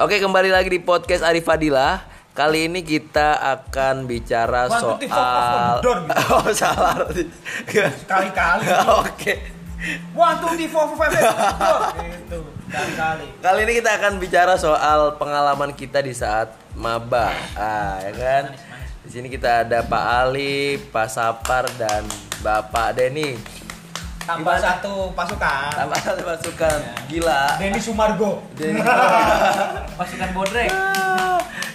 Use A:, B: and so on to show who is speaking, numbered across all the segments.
A: Oke, kembali lagi di podcast Arif Fadila. Kali ini kita akan bicara
B: One, two, three, four, five,
A: soal
B: door, gitu.
A: Oh, salah.
B: Kali-kali.
A: Oke.
B: One, two, three, four, five, six, seven. Gitu. Kali-kali.
A: Kali ini kita akan bicara soal pengalaman kita di saat maba. Ah, ya kan? Di sini kita ada Pak Ali, Pak Sapar dan Bapak Denny.
B: Tambah satu pasukan.
A: Tambah satu pasukan gila.
B: Denny Sumargo.
A: Denny.
C: Pasukan bodrek.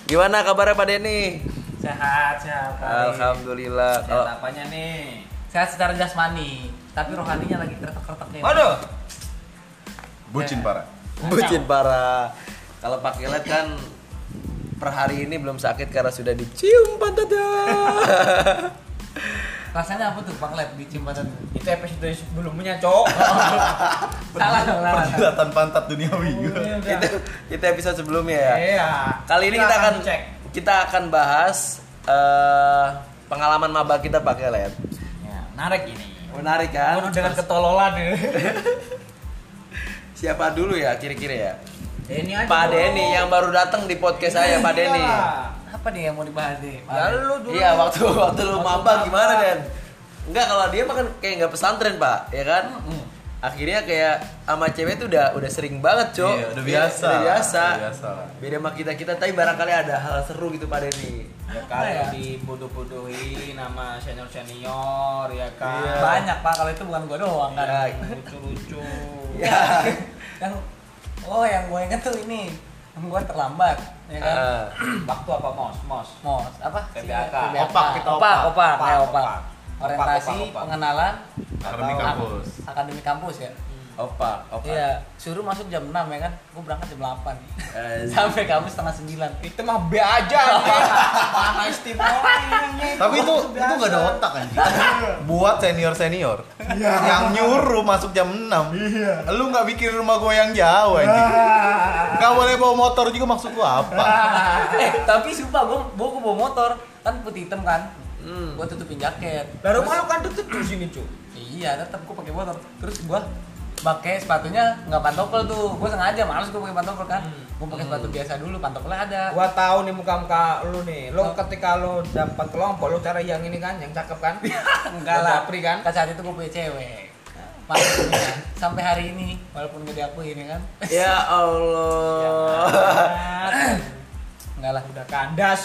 A: Gimana kabarnya Pak Denny?
C: Sehat, sehat.
A: Alhamdulillah. Kalau
B: apanya nih?
C: Sehat secara jasmani, tapi rohaninya lagi kretek-kretek nih.
B: Waduh.
D: Bucin parah.
A: Bucin parah. Kalau Pak Kelet kan per hari ini belum sakit karena sudah dicium pantatnya.
C: Rasanya apa tuh Bang Lab di Cimbatan?
B: Itu episode sebelumnya, Cok.
C: Salah dong, salah. salah.
D: Perjilatan pantat duniawi.
A: itu itu episode sebelumnya ya.
B: Iya.
A: Kali ini kita akan
B: cek.
A: kita akan bahas eh, pengalaman maba kita Pak Kelet.
B: Ya, menarik ini.
A: Menarik
B: Penuh
A: kan?
B: dengan ketololan ya.
A: Siapa dulu ya kira-kira ya?
B: Denny
A: Pak Denny Iya yang baru datang di podcast saya
B: Iya.
A: Pak Denny.
C: Apa nih yang mau dibahas deh?
B: Ya lu dulu.
A: Iya waktu waktu lu
B: Waktu
A: maba
B: maba.
A: gimana Den? Enggak kalau dia makan kayak nggak pesantren pak, ya kan? Akhirnya kayak sama cewek tuh udah udah sering banget cok.
D: Iya, udah biasa.
A: Udah biasa.
D: Udah biasa lah.
A: Beda sama kita kita tapi barangkali ada hal seru gitu pada ini.
B: Ya
C: Apa ya?
B: kalau dibodoh-bodohin sama senior-senior ya kan.
A: Iya.
C: Banyak Pak, kalau itu bukan gua doang
A: Iya.
C: kan.
B: Lucu-lucu.
A: Ya.
C: Yang Oh, yang gue inget tuh ini. Yang gue terlambat,
D: Iya.
C: ya kan?
A: Ah.
B: Waktu apa, Mos? Mos.
C: Mos, apa? sih?
B: PBAK.
D: Opak, kita
C: opak.
D: opak.
C: Opak, ya,
B: Opak,
C: opak.
B: opak.
C: Orientasi,
B: Opak, opak, opak.
C: pengenalan,
D: Akademi
B: Atau-
D: kampus.
C: akademi kampus ya.
A: Opa, opa.
C: Iya, suruh masuk jam 6 ya kan. Gue berangkat jam 8.
A: Eh,
C: Sampai kamu setengah 9.
B: itu mah B aja anjing. mana istimewa
D: Tapi itu itu gak ada otak anjing. Buat senior-senior yang nyuruh masuk jam 6. Lu nggak bikin rumah gue yang jauh anjing. Gak boleh bawa motor juga maksud lu apa?
C: eh tapi sumpah gue gue bawa motor kan putih hitam kan
D: Hmm.
C: gue tutupin jaket
B: baru
C: Terus-
B: malu kan tutup di sini cu
C: iya tetap gue pakai motor terus gue pakai sepatunya nggak pantofel tuh gue sengaja males gue pakai pantofel kan
D: Hmm.
C: gue pakai sepatu biasa dulu pantofelnya ada
B: gua tahu nih muka muka lu nih lu ketika lu dapat kelompok lu cari yang ini kan yang cakep kan
C: enggak lah
B: Dapri kan
C: Kan saat itu gue punya cewek Maksudnya, sampai hari ini walaupun gak diakuin ya kan
A: ya Allah.
C: enggak lah
B: udah Nah, kandas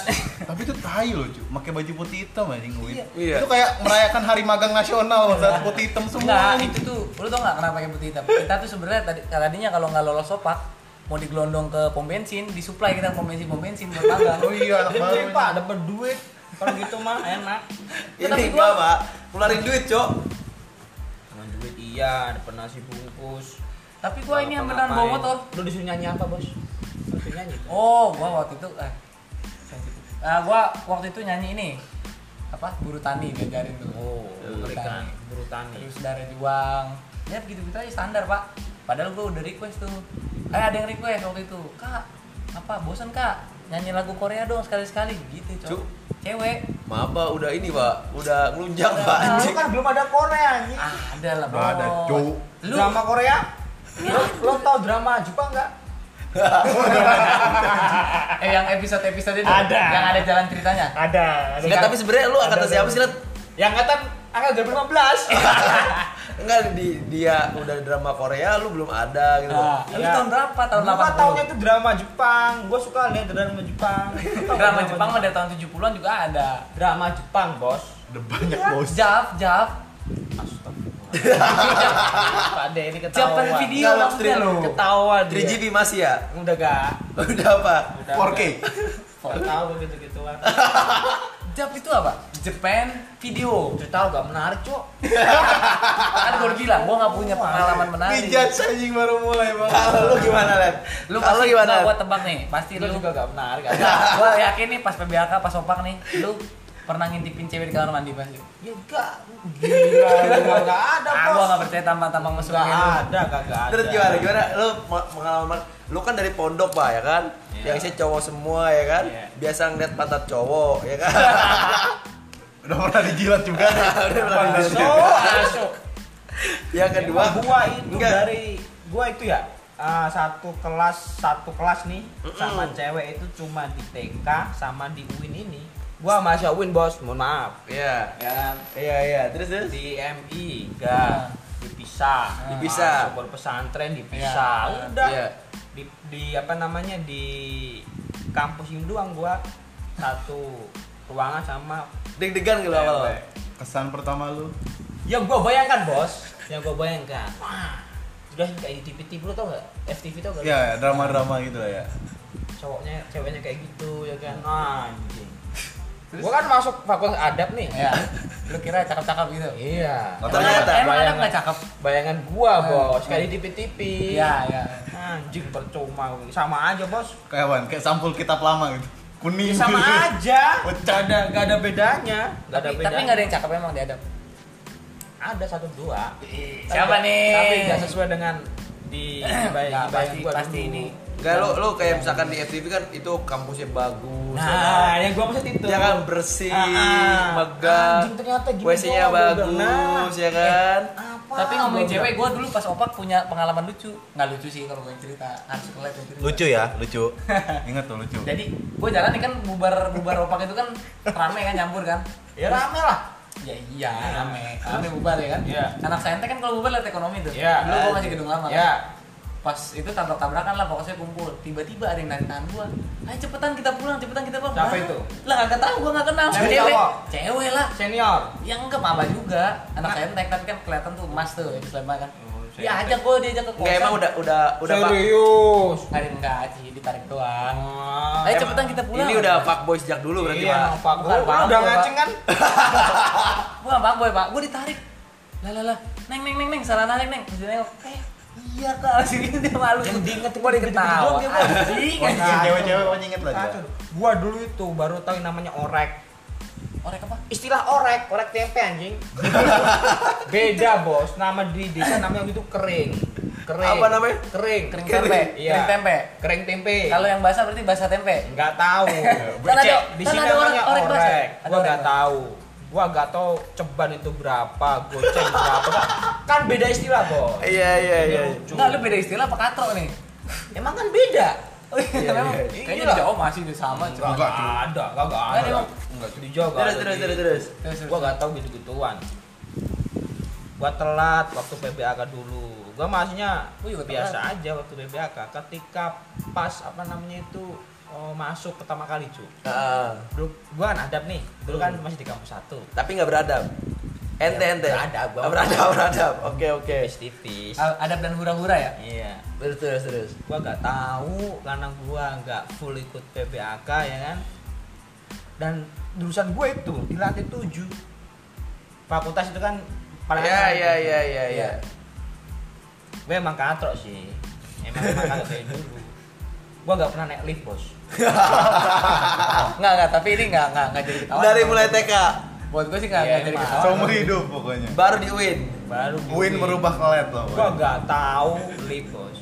D: Tapi itu tai loh, cuy. Pakai baju putih hitam anjing gue.
A: Iya.
D: Itu kayak merayakan Hari Magang Nasional saat putih hitam semua.
C: Enggak, itu tuh lu tau nggak kenapa pakai putih hitam? Kita tuh sebenarnya tadi tadinya kalau nggak lolos opak mau digelondong ke pom bensin, disuplai kita pom bensin pom bensin buat magang.
D: Oh iya, anak baru.
B: Duit,
D: ini.
B: pak dapat duit kalau gitu mah enak
A: ini
C: Ya,
D: Iya,
C: Tapi
A: gua
C: gua-
A: pak, keluarin duit cok.
B: Sama duit iya dapat nasi bungkus
C: Tapi gua ini yang beneran oh. bawa
B: Ngapa-ngapain.
C: motor.
B: lu disuruh nyanyi apa bos Lu disuruh nyanyi
C: Oh, gua waktu itu eh sensitif. Ah, gua waktu itu nyanyi ini apa buru tani diajarin tuh
B: oh
C: Buru
B: ikan
C: Tani.
B: buru tani
C: terus dari juang ya begitu begitu aja standar pak padahal gua udah request tuh eh ada yang request waktu itu kak apa bosan kak nyanyi lagu Korea dong sekali sekali gitu
A: Cuk.
C: cowok cewek
A: Maba udah ini pak, udah ngelunjang pak
C: Udah.
B: Lu
A: anjing.
B: kan belum ada Korea anjing
C: Ah, ada lah,
D: Nggak ada,
C: Bos.
D: Cuk.
C: Lu
B: drama Korea lo, lo tau drama Jepang nggak
C: eh yang episode-episode itu
B: Ada.
C: yang ada jalan ceritanya.
B: ada
A: Enggak tapi sebenarnya lu angkatan siapa sih Let?
B: yang angkatan angkatan 2015
A: Enggak di dia udah drama Korea lu belum ada gitu.
C: Ah, lu
B: Iya.
C: tahun berapa? Tahun
B: Gua
C: 80.
B: taunya itu drama Jepang gua suka lihat drama Jepang Lu tau
C: Drama Jepang mah dari tahun 70-an juga ada.
B: drama Jepang bos
D: Udah banyak bos.
C: Jaf, Jaf.
B: Pak D ini
C: Jaf
B: ketahuan
C: kan video
A: Nggak,
C: maksudnya
A: stream.
C: lu.
B: ketahuan dia.
A: 3GB masih ya?
B: udah gak
A: Udah apa?
D: 4K.
B: Gak tau gitu gituan
C: Jaf itu apa? Japan video.
B: udah tau gak menarik cok
C: Kan gua udah bilang gua nggak punya pengalaman menarik.
D: Dijudge anjing baru mulai, Bang.
A: Kalau lu gimana, Len?
C: Lu
A: Kalau
C: pasti
A: gimana?
C: gua tebak nih, pasti
B: lu
C: lu.
B: juga gak menarik kan
C: Nah, gua yakin nih pas PBHK pas opak nih, lu pernah ngintipin cewek di kamar mandi pasti.
B: ya gak gila gak, gak ada
C: Ah,
B: bos
C: gua nggak percaya tampang-tampang mesum gitu.
B: gak
C: kayak lu.
B: ada gak, gak ada
A: Terus gimana? Gimana? Lu ma- pengalaman lu kan dari pondok, Pak, ya kan?
B: Iya.
A: Yang isinya cowok semua ya kan?
B: Iya.
A: Biasa ngeliat pantat cowok, ya kan?
D: Udah pernah dijilat juga.
A: Udah pernah
D: Pantat
A: dijilat.
D: juga.
B: masuk masuk Iya.
A: yang kedua,
B: gua itu
A: enggak.
B: dari gua itu ya eh, satu kelas satu kelas nih sama cewek itu cuma di TK sama di UIN ini. Gua masih UIN bos, mohon maaf.
A: Iya.
B: Ya kan?
A: Iya iya. Terus terus.
B: di MI enggak dipisah,
A: Dipisah.
B: Masuk pondok pesantren dipisah.
C: Iya.
B: Udah.
A: Iya.
B: Di, di apa namanya di kampus ini doang gua satu ruangan sama
A: Deg-degan gitu awal.
B: cewek.
D: Kesan pertama lu?
B: yang gua bayangkan bos yang gua bayangkan wah sudah kayak di TV TV lo tau gak FTV tau gak
C: Iya.
B: lu?
D: Ya, drama-drama gitu lah ya.
B: cowoknya ceweknya kayak gitu ya kan
C: Hmm.
B: anjing gua kan masuk fakultas adab nih
C: ya lu kira cakep-cakep gitu
B: iya
D: Nggak
A: ternyata.
C: emang ada
B: Bayangan.
C: nggak cakep
B: bayangan gua
C: Eh.
B: bos kayak di TV TV
C: iya iya
B: anjing percuma sama aja bos
D: Kayak apaan? Kayak sampul kitab lama gitu. Kuning.
B: Ya,
C: Iya.
B: sama aja
D: Pecah.
B: gak ada gak ada bedanya gak ada
C: tapi tapi
B: bedanya.
C: nggak ada yang cakep emang diadap
B: ada satu dua
C: siapa
B: Tapi-
C: nih
B: tapi nggak sesuai dengan di
C: Nggak,
B: bayang,
C: pasti
B: bayang gua
C: pasti
B: dulu.
C: ini
A: Enggak lu lu kayak misalkan di FTV kan itu kampusnya bagus. ya
B: Nah,
A: kan?
B: yang gua maksud itu.
A: Ya kan bersih,
B: Ah, ah.
A: megah.
B: Anjing, ternyata gitu
A: WC-nya
B: doang, udah.
A: bagus
B: Nah.
A: ya kan.
B: Apa?
C: tapi ngomongin
B: Gua
C: cewek gue dulu pas opak punya pengalaman lucu nggak lucu sih kalau gue cerita harus kelihatan yang cerita
D: Lucu ya, lucu. Ingat tuh lucu.
C: jadi gue jalan nih kan bubar bubar opak itu kan rame kan nyampur kan
B: bilang, Ya rame lah.
C: ya iya rame rame bubar ya kan
B: Iya.
C: anak saintek kan kalau bubar lihat ekonomi tuh
B: Iya.
C: dulu gue masih gedung lama kan.
B: Ya.
C: pas itu tabrak-tabrakan lah pokoknya kumpul tiba-tiba ada yang narik tangan gua ayo cepetan kita pulang cepetan kita pulang
B: Siapa
C: Lah,
B: itu?
C: lah gak tahu gua gak kenal
B: Cewek cowok?
C: cewek lah
B: Senior.
C: yang enggak apa juga anak
B: Nah.
C: entek tapi kan kelihatan tuh emas tuh yang selama kan
B: Oh, cewek
C: ya ajak gua diajak ke kosan
A: Enggak emang udah udah udah Pak.
B: serius.
C: Nggak ada yang enggak sih ditarik doang
B: Ah,
C: ayo
B: emang-
C: cepetan kita pulang
A: Ini udah fuckboy sejak dulu berarti
B: Iya,
A: Pak.
B: emang Pak. Gua-
C: Bukan, Pak.
B: gua udah
C: Gua, Pak.
B: ngaceng kan?
C: gua gak boy pak gua ditarik lah lah lah neng neng neng neng salah narik neng Terus dia nengok eh iya kak sini dia malu
B: Yang diinget
C: gua diketawa
B: gitu-gitu doang dia, Pak.
C: anjing
D: Oh,
C: anjing.
D: Cewek-cewek pokoknya inget lah dia.
B: Kacau. Gua dulu itu baru tahu yang namanya orek.
C: orek Oh, apa
B: Istilah orek, orek tempe anjing. Beda, Bos. Nama di desa namanya gitu kering. Kering.
A: Apa namanya?
B: Kering.
C: kering tempe
B: Iya.
C: kering tempe
B: Kering tempe.
C: Kalau yang basah berarti basah tempe.
B: Enggak tahu.
C: Kan ada-
B: Cek, di
C: kan
B: sini
C: ada
B: namanya
C: orek- orek
B: orek.
C: basah. Ada
B: Gua enggak
C: orek.
B: tahu. Gua enggak tahu ceban itu berapa, goceng berapa. Kan beda istilah, Bos.
A: Iya iya iya.
C: Enggak, lu beda istilah apa katro nih?
B: Emang kan beda.
C: Oh, iya, Hmm. memang.
A: iya.
C: Kayaknya
B: Iyalah.
C: di Jawa masih udah sama cuma.
D: Enggak, cuy.
B: Ada, enggak enggak
C: Enggak,
B: ada.
C: emang.
D: Enggak, cuy.
B: Di Jawa.
A: Terus
B: ada
A: terus
B: di-
A: terus terus.
C: Terus, terus,
B: gua gak tahu gitu-gituan gua telat waktu PBAK dulu gua masihnya
C: Oh, iya, Gua juga
B: biasa aja waktu PBAK ketika pas apa namanya itu oh, masuk pertama kali cu
A: Heeh.
B: dulu gua kan adab nih dulu kan
C: Oh.
B: masih di kampus satu
A: Tapi nggak beradab. Ente
B: Ya,
A: ente.
B: beradab, Bang.
A: Ah, Beradab beradab. Oke oke.
B: tipis-tipis
C: terus. Adab dan hura-hura ya?
B: iya
A: Terus terus terus.
B: gua gak tahu karena gua nggak full ikut PBAK ya kan dan jurusan gue itu di lantai 7 fakultas itu kan paling
A: Iya
B: atas
A: iya
B: itu.
A: iya iya iya.
B: gue emang katrok sih emang emang katrok dari dulu gue gak pernah naik lift bos
C: Enggak, enggak, tapi ini enggak enggak enggak jadi ketawa.
B: kan
A: Dari mulai TK
C: Buat gue sih enggak
B: Iya,
C: enggak jadi
B: emang.
C: ketawa.
D: Seumur hidup pokoknya.
A: baru di UIN.
B: baru di
D: Win merubah kelet loh.
B: gue
D: pokoknya.
B: gak tahu lift bos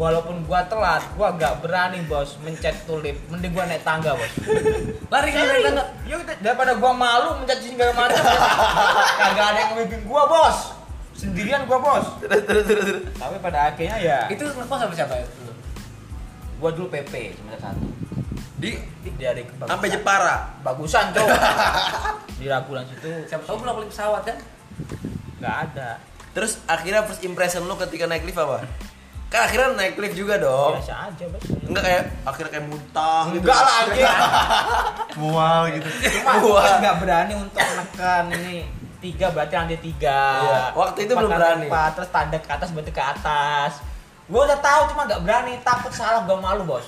B: walaupun gue telat gue gak berani bos mencet tuh lift mending gue naik tangga bos
C: Lari kan
B: Iya,
C: dari tangga.
B: Yuk, daripada gue malu mencet segala macam ya. kagak ada yang ngebimbing gue bos sendirian gue bos
A: Terus terus terus. terus.
B: tapi pada akhirnya ya
C: Itu ngekos sama siapa ya? dulu?
B: gue dulu PP semester satu
A: Di
B: dari kebab-
A: sampai Jepara.
B: bagusan tuh di Ragunan situ
C: Siapa tahu pulang beli pesawat kan?
B: nggak ada
A: Terus akhirnya first impression lu ketika naik lift apa? Kan akhirnya naik lift juga dong.
B: biasa aja bos
A: Enggak kayak akhirnya kayak muntah gitu.
B: enggak lah anjing
D: Mual gitu.
B: Cuma aku
A: Wah.
B: kan nggak berani untuk menekan ini tiga berarti lantai tiga.
A: Iya, waktu itu belum
B: lantai
A: berani.
B: Empat, terus tanda ke atas berarti ke atas. Gue udah tahu cuma nggak berani, takut salah gue malu bos.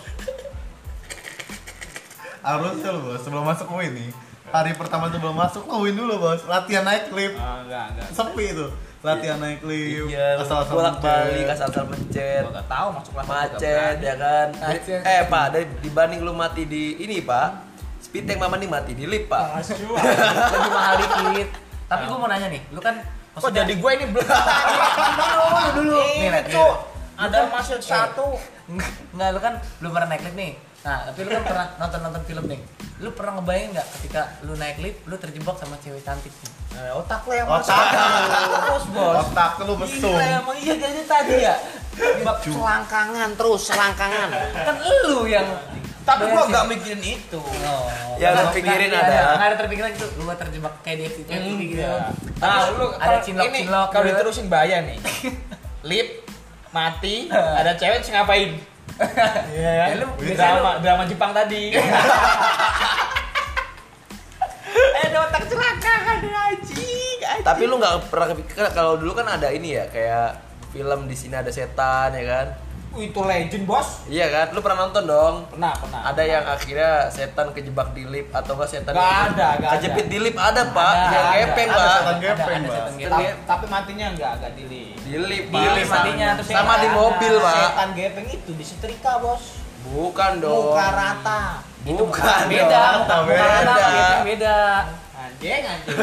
D: Harusnya lo bos, sebelum masuk win nih. Hari pertama sebelum masuk lo win dulu bos. Latihan naik lift.
B: enggak enggak.
D: Sepi itu. Latihan naik lift.
A: Iya,
D: asal-asal
A: bolak balik
D: mencet.
A: asal-asal mencet.
B: Gue nggak tahu masuk kelas aku nggak
A: macet
B: berani.
A: ya kan
C: Macet.
A: eh pak dari dibanding lu mati di ini pak speed tank mama nih mati di lip pak
B: Asu.
C: Lebih mahal dikit. Tapi gue mau nanya nih, lu kan
B: Kok jadi gue ini belum
C: dulu dulu. Nih,
B: Ini
C: Red, nih,
B: tuh
C: Red.
B: ada masuk satu.
C: Enggak, lu kan belum pernah naik lift nih. Nah, tapi lu kan pernah nonton-nonton film nih. Lu pernah ngebayangin nggak ketika lu naik lift, lu terjebak sama cewek cantik nih?
B: Eh, otak lo yang
D: Otak.
B: masuk terus bos.
D: Otak lu mesum.
B: Gila emang iya jadi tadi ya. Bab selangkangan terus selangkangan.
C: kan elu yang Iya, Oh,
E: Tapi gua
B: Iya,
E: nggak mikirin itu.
A: Yang lu pikirin adalah-
C: nggak ada terpikiran gitu lu gua terjebak kayak di FTV
B: Hmm, iya.
C: gitu
E: Nah, lu
C: ada
E: kalau
C: cinlok
E: ini
C: cinlok
E: kalau
A: gitu.
E: diterusin bahaya nih. Lip mati, ada cewek terus ngapain? Ya,
B: Iya.
E: lu drama drama Jepang tadi.
B: Eh,
C: ada otak celaka kan anjing
A: Tapi lu nggak pernah kepikiran kalau dulu kan ada ini ya kayak film di sini ada setan ya kan?
B: Itu legend bos.
A: Iya kan? Lu pernah nonton dong?
B: Pernah pernah.
A: Ada yang akhirnya setan kejebak di lift atau enggak setan
B: Nggak ada, nggak ada.
A: kejepit di lift ada, Pak.
C: Ada,
A: yang
B: ada,
A: kepeng,
D: Ada
A: Pak.
D: setan gepeng,
C: ada
D: Pak.
C: setan
B: Ta-
C: gitu. gepeng.
A: Tapi-
B: tapi matinya enggak agak dili.
A: gitu. Di lift,
C: Di lift matinya, terus
A: sama
C: yang
A: di
C: ada.
A: mobil, Pak.
B: Setan gepeng itu disetrika bos.
A: Bukan dong.
B: Muka rata.
A: Bukan.
C: beda
A: dong.
C: muka
A: Beda.
C: muka anak gitu, beda
B: Anjing anjing.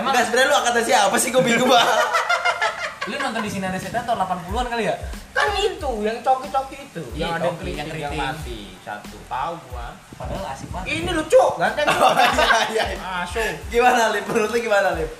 C: emang
A: Enggak sebenarnya lu kata siapa sih gua bingung, Pak?
C: lu nonton di sini ada setan tahun 80-an kali ya
B: kan itu yang coki-coki itu.
C: Iya,
B: yang ada
C: coki, yang
B: keriting yang
C: keriting.
B: mati satu. Tahu gua.
C: padahal asik banget
B: Ini lucu ganteng.
A: Iya, iya.
B: Masuk.
A: Gimana, Lip? Menurut lu gimana, Lip?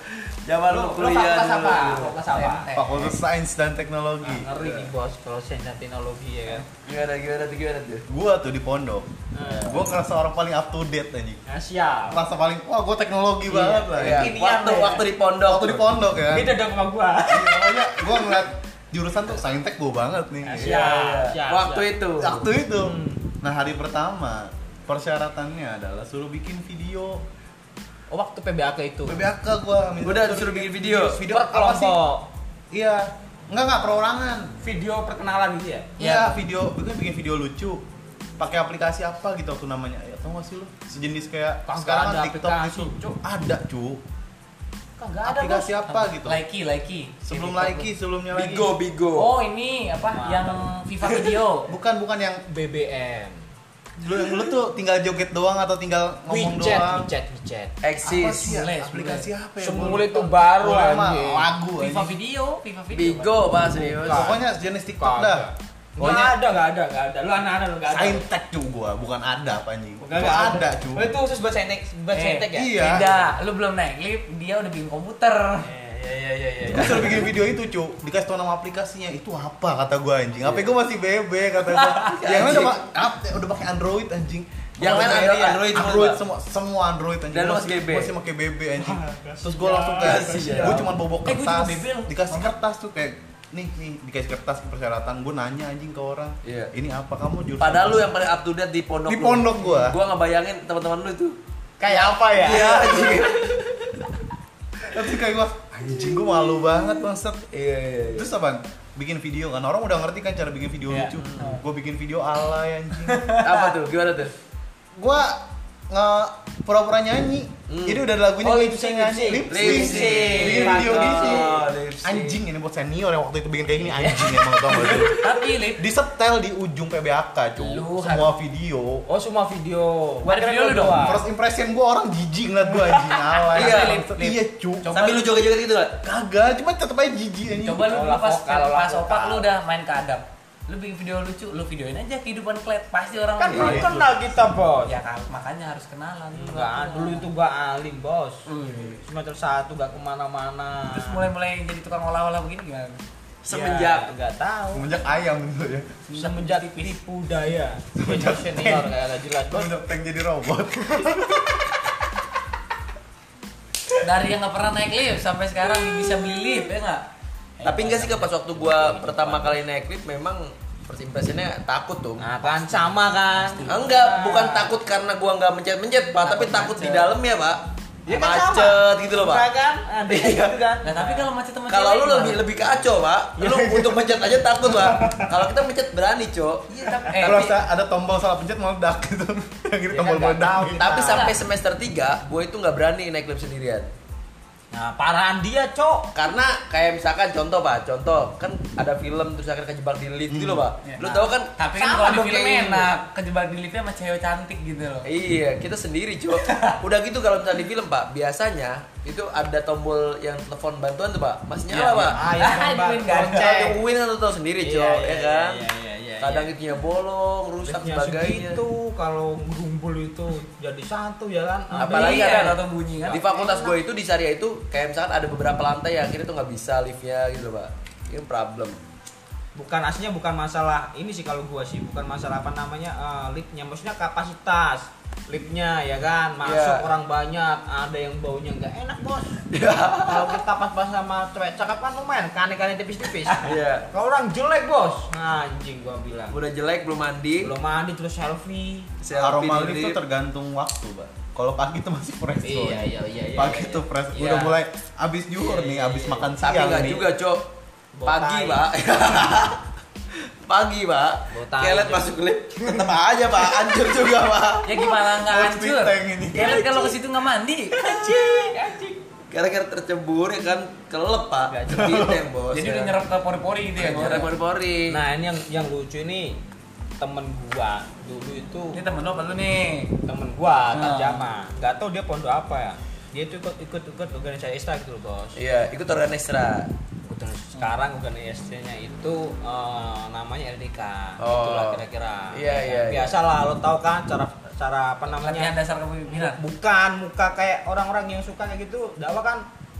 A: Zaman lu
B: Lu lu
A: kuliah
B: fakultas
A: dulu.
B: apa? Fakultas apa?
C: Tempe.
D: Fakultas Sains dan Teknologi.
C: Ah,
B: Ngeri nih bos kalau sains dan teknologi ya kan.
A: Gimana, gimana tuh, gimana tuh?
D: Gua tuh di pondok.
B: Nah,
D: Gua ngerasa orang paling up to date anjing.
B: Nah, siap.
D: Merasa paling wah gua teknologi banget lah.
A: Iya,
D: ya.
B: Kekinian
A: waktu
B: deh.
A: waktu di pondok.
D: Waktu di pondok ya.
B: Beda dong sama gua.
D: Iya, Pokoknya gua ngeliat jurusan tuh saintek gua banget nih.
B: Nah,
A: Iya,
B: Siap,
A: iya.
B: siap,
A: Waktu
B: siap.
A: itu.
D: Waktu itu. Nah, hari pertama persyaratannya adalah suruh bikin video.
E: Oh, waktu PBAK itu.
D: PBAK gua minta
A: Udah disuruh bikin video.
D: Video
E: Per
D: apa sih?
E: kelompok.
D: Iya. Enggak enggak perorangan.
B: Video perkenalan gitu ya.
D: Iya, video gue bikin video lucu pakai aplikasi apa gitu waktu namanya ya tau gak sih lu sejenis kayak
E: Kagak
D: sekarang
E: ada
D: kan TikTok
E: aplikasi,
D: itu ada cu
B: Kagak ada
D: aplikasi
B: bos.
D: apa gitu
C: Likey, likey.
D: sebelum
C: Di TikTok
D: Likey sebelumnya lagi
A: Bigo, bigo.
C: Oh ini apa
B: Mantap.
C: yang FIFA video?
D: bukan bukan yang
E: BBM.
D: lu, lu tuh tinggal joget doang atau tinggal ngomong
E: WeChat,
D: doang
E: WeChat, WeChat.
D: apa sih
A: Eksis.
D: ya?
C: Semule,
D: aplikasi apa ya
E: Semule
D: Gua lupa.
E: tuh baru,
D: Gua lupa,
E: anjing.
D: lagu
C: FIFA
D: anjing.
C: video, FIFA video.
A: Bigo, Pak, serius.
D: pokoknya sejenis TikTok
E: Kagak.
D: dah
B: Enggak ada, enggak ada, enggak ada. Lu anak-anak lu enggak ada.
D: saintek cu gua bukan ada apa anjing
B: Enggak
D: Gua ada cu
B: Oh, itu khusus buat saintek, buat
C: Eh,
B: saintek ya?
D: iya
C: Beda, lu belum naik lift, dia udah bikin komputer.
B: Iya, iya, iya, iya.
D: Gue suruh bikin video itu, cu. Dikasih tau nama aplikasinya. Itu apa kata gua anjing? HP gua masih BB kata gua. Yang lain udah, pa- ap- udah pakai Android anjing.
A: Yang lain
D: Android, ya?
A: Android, semua,
D: Android,
A: Pak.
D: semua, semua Android anjing.
A: Dan lu
D: Gua
A: masih Ah, BB.
D: Gua masih pakai BB anjing. Terus gua langsung kayak
A: Kasihan.
D: gua cuma bobo
C: Eh, gua juga
D: kertas.
C: BB loh.
D: dikasih kertas tuh kayak nih nih dikasih kertas persyaratan gua nanya anjing ke orang.
A: Iya.
D: Ini apa kamu jurusan?
A: Padahal lu yang paling up to date di pondok
D: di
A: lu.
D: pondok gua.
A: Gua ngebayangin teman-teman lu itu.
B: Kayak apa ya?
A: Iya, anjing.
D: Tapi kayak gua anjing gua malu banget bangsat.
A: Iya, iya, iya.
D: Terus apa? Bikin video kan orang udah ngerti kan cara bikin video
B: Iya.
D: lucu.
A: Hmm.
D: Gua bikin video alay anjing.
A: Apa tuh? Gimana tuh?
D: Gua nge pura-pura nyanyi.
A: Hmm.
D: Jadi udah ada lagunya
B: Oh,
D: gua
B: lip sync,
D: nyanyi.
B: lip sync.
A: Lip
D: Lip sync.
A: sync.
D: Bikin video
A: Mantap.
D: gitu.
A: Lip sync.
D: Anjing ini buat senior yang waktu itu bikin kayak gini anjing emang tau gak lu?
C: Tapi lift,
D: Disetel di ujung PBAK, cuy.
C: Lu
D: Semua video.
B: Oh, semua video.
C: Ada video lu dong?
B: doang.
D: First impression gua orang jijik ngeliat gua anjing
A: Iya,
D: alay. Bangsat.
C: lip- lip.
D: Iya, cuy.
C: Coba.
A: Sambil lu joget-joget gitu nggak?
D: Kagak, cuma tetep aja jijik anjing.
C: coba lu
B: Kalau
C: dulu pas
B: vokal,
C: pas
B: vokal.
C: opak lu udah main kadap. Lu bikin video lucu, lu videoin aja kehidupan klet, pasti orang
B: Kan belum
C: mau
D: Iya.
B: kenal kita, bos.
C: Ya kan, makanya harus kenalan. Iya.
B: Enggak, dulu itu gua alim, bos. Semester satu gak kemana-mana.
C: Terus mulai-mulai jadi tukang olah-olah begini gimana?
A: Semenjak
B: Ya, nggak tahu.
D: Semenjak ayam gitu ya.
B: Semenjak tipu daya. Semenjak senior kayak nggak jelas, bos.
D: Semenjak tank jadi robot.
C: Dari yang nggak pernah naik lift sampai sekarang bisa beli lift ya nggak?
A: tapi enggak sih Kak, pas waktu gua pertama kali naik lift memang first impressionnya takut tuh.
B: Nah, kan sama kan.
A: Enggak, bukan takut karena gua nggak mencet-mencet, Pak, tapi takut di dalam ya, Pak.
B: Ya kan sama.
A: macet gitu loh,
B: Nah,
A: Pak.
B: kan? Ada gitu kan.
C: Nah, tapi kalau macet sama
A: Kalau
C: cewek
A: lu
C: gimana?
A: lebih lebih kacau, Pak. Lu untuk mencet aja takut, Pak. Kalau kita mencet berani, Cok.
C: Iya, tapi eh,
D: Kalau
C: tapi-
D: ada, ada tombol salah pencet meledak gitu. Yang kiri
B: Ya
D: tombol
B: kan, nggak
D: meledak.
B: tahu.
A: Tapi
C: Nah.
A: sampai semester 3, gue itu nggak berani naik lift sendirian.
B: Nah, parahan dia, Cok.
A: Karena kayak misalkan contoh pak, contoh kan ada film terus akhirnya kejebak di lift gitu loh pak.
C: Ya,
A: Lu
C: nah,
A: tau kan?
C: tapi
A: sama
C: kan kalau di
A: dong
C: film
A: kayak ini.
C: enak kejebak di liftnya sama cewek cantik gitu loh
A: Iya, kita sendiri cuy. Udah gitu kalau misalnya di film pak, biasanya itu ada tombol yang telepon bantuan tuh Ya, pak, masih
C: Iya.
A: nyala pak.
B: Ayo, Bang.
C: Duit
A: Kalau
C: gancang.
B: Cek.
A: tungguin kan lu tau sendiri cuy,
B: Iya,
A: ya
B: iya,
A: kan?
B: iya, iya, iya,
A: Kadang
B: iya.
A: itunya bolong, rusak
B: Liftnya
A: sebagainya.
B: segitu kalau gerumbul itu jadi satu ya kan.
A: Apalagi
C: Iya,
A: ada
C: atau bunyi kan?
A: Di fakultas gue itu di Syariah itu kayak misalkan ada beberapa lantai yang akhirnya tuh nggak bisa liftnya gitu loh, pak. Ini problem.
B: bukan aslinya bukan masalah ini sih kalau gua sih bukan masalah apa namanya eh, liftnya maksudnya kapasitas liftnya ya kan masuk
A: Iya.
B: orang banyak ada yang baunya nggak enak bos
C: Iya.
B: kalau kita pas-pas sama cewek cakep kan lumayan kane-kane tipis-tipis
A: Iya.
B: kalau orang jelek bos nah, anjing gua bilang
A: Udah jelek belum mandi.
B: belum mandi terus selfie
A: selfie
D: aroma
A: di
D: lift itu
A: lift.
D: tergantung waktu pak kalau pagi tuh masih fresh Boy.
C: Iya, iya, iya, iya,
D: pagi
C: iya, iya.
D: tuh fresh
C: Iya.
D: udah mulai abis nyuhur nih abis makan
A: Iya, Tapi
D: siang
A: nggak
D: nih
A: juga, Cok. Pagi,
B: Botai.
A: Pak. Pagi, Pak.
B: Botai.
A: Kelet masuk lift.
D: tetep aja pak hancur juga pak
C: Ya
A: Oh,
C: gimana nggak
D: Buat
C: hancur?
D: benteng ini.
C: Kelet kalau ke situ nggak mandi.
A: Gara-gara tercebur ya kan kelep, Pak. Diteng, Bos. ya.
C: Jadi udah nyerap ke pori-pori gitu ya.
A: Oh, iya. nyerap pori-pori.
B: nah ini yang yang lucu ini temen gua dulu itu
C: Ini temen lo apa lu nih?
B: temen gua
C: Nah.
B: tarjama nggak tahu dia pondok apa ya dia tuh ikut ikut ikut organisasi ISTA gitu loh bos
A: Iya, ikut organ ekstra.
C: Iya.
B: Ikut- sekarang organisasi nya itu eh, namanya LDK
A: Oh.
B: itulah kira-kira Ya,
A: Iya, iya, iya.
B: biasalah lo tau kan cara cara apa namanya
C: Latihan dasar kepemimpinan.
B: bukan muka kayak orang-orang yang suka kayak gitu dakwah kan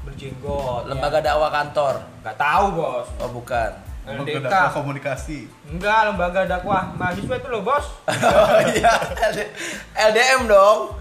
B: berjenggot ya.
A: Lembaga dakwah kantor.
B: nggak tahu bos
A: Oh, bukan.
B: LDK
D: Menggerakkan komunikasi
B: enggak lembaga dakwah mahasiswa itu loh bos
A: Oh, iya, LD- LDM dong.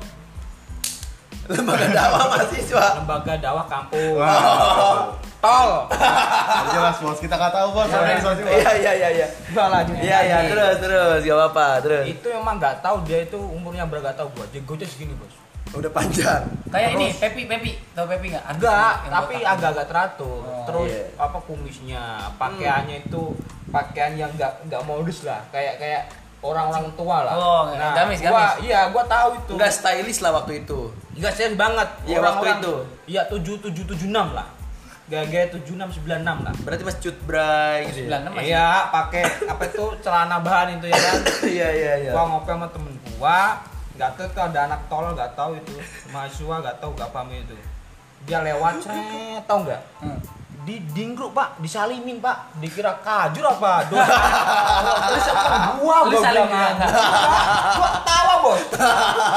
A: Lembaga dakwah mahasiswa.
B: lembaga dakwah kampung
D: Wah.
B: tol
D: Nggak jelas bos kita nggak tahu bos organisasi bos.
A: Iya, iya, iya, iya.
B: Enggak lah, jujur
A: Iya, iya,
B: lagi.
A: terus, terus, gak apa-apa, terus.
B: itu emang nggak tahu dia itu umurnya berapa nggak tahu gua jenggotnya segini bos
A: Udah panjang.
C: Kayak ini Pepi, Pepi, tau Pepi nggak? Artis
B: enggak
C: yang
B: tapi
C: botak.
B: agak-agak teratur
C: Oh, Hmm.
B: terus
A: iya.
B: apa kumisnya pakaiannya itu pakaian yang nggak nggak modus lah kayak kayak orang-orang tua lah
C: Oh, gamis,
B: gua,
C: gamis.
B: iya gua tahu itu
A: Enggak stylish lah waktu itu.
B: nggak serius banget
A: Iya,
B: Orang-orang-
A: waktu itu.
B: iya tujuh tujuh tujuh enam lah gaya-gaya tujuh enam sembilan enam lah
A: Berarti Mas Cut Bray gitu ya.
C: 96 masih.
B: iya pakai apa itu celana bahan itu ya kan
A: Iya, iya, iya.
B: gua ngopi sama temen gua nggak tahu itu ada anak tolol nggak tahu itu mahasiswa nggak tahu nggak paham itu dia lewat cret tau nggak
C: Hmm.
B: di dingkruk pak disalimin pak dikira kajur apa dosa terus sama gua
C: Lu
B: gua
C: saling
B: bilang kan.
C: ngangkat.
B: gua tawa bos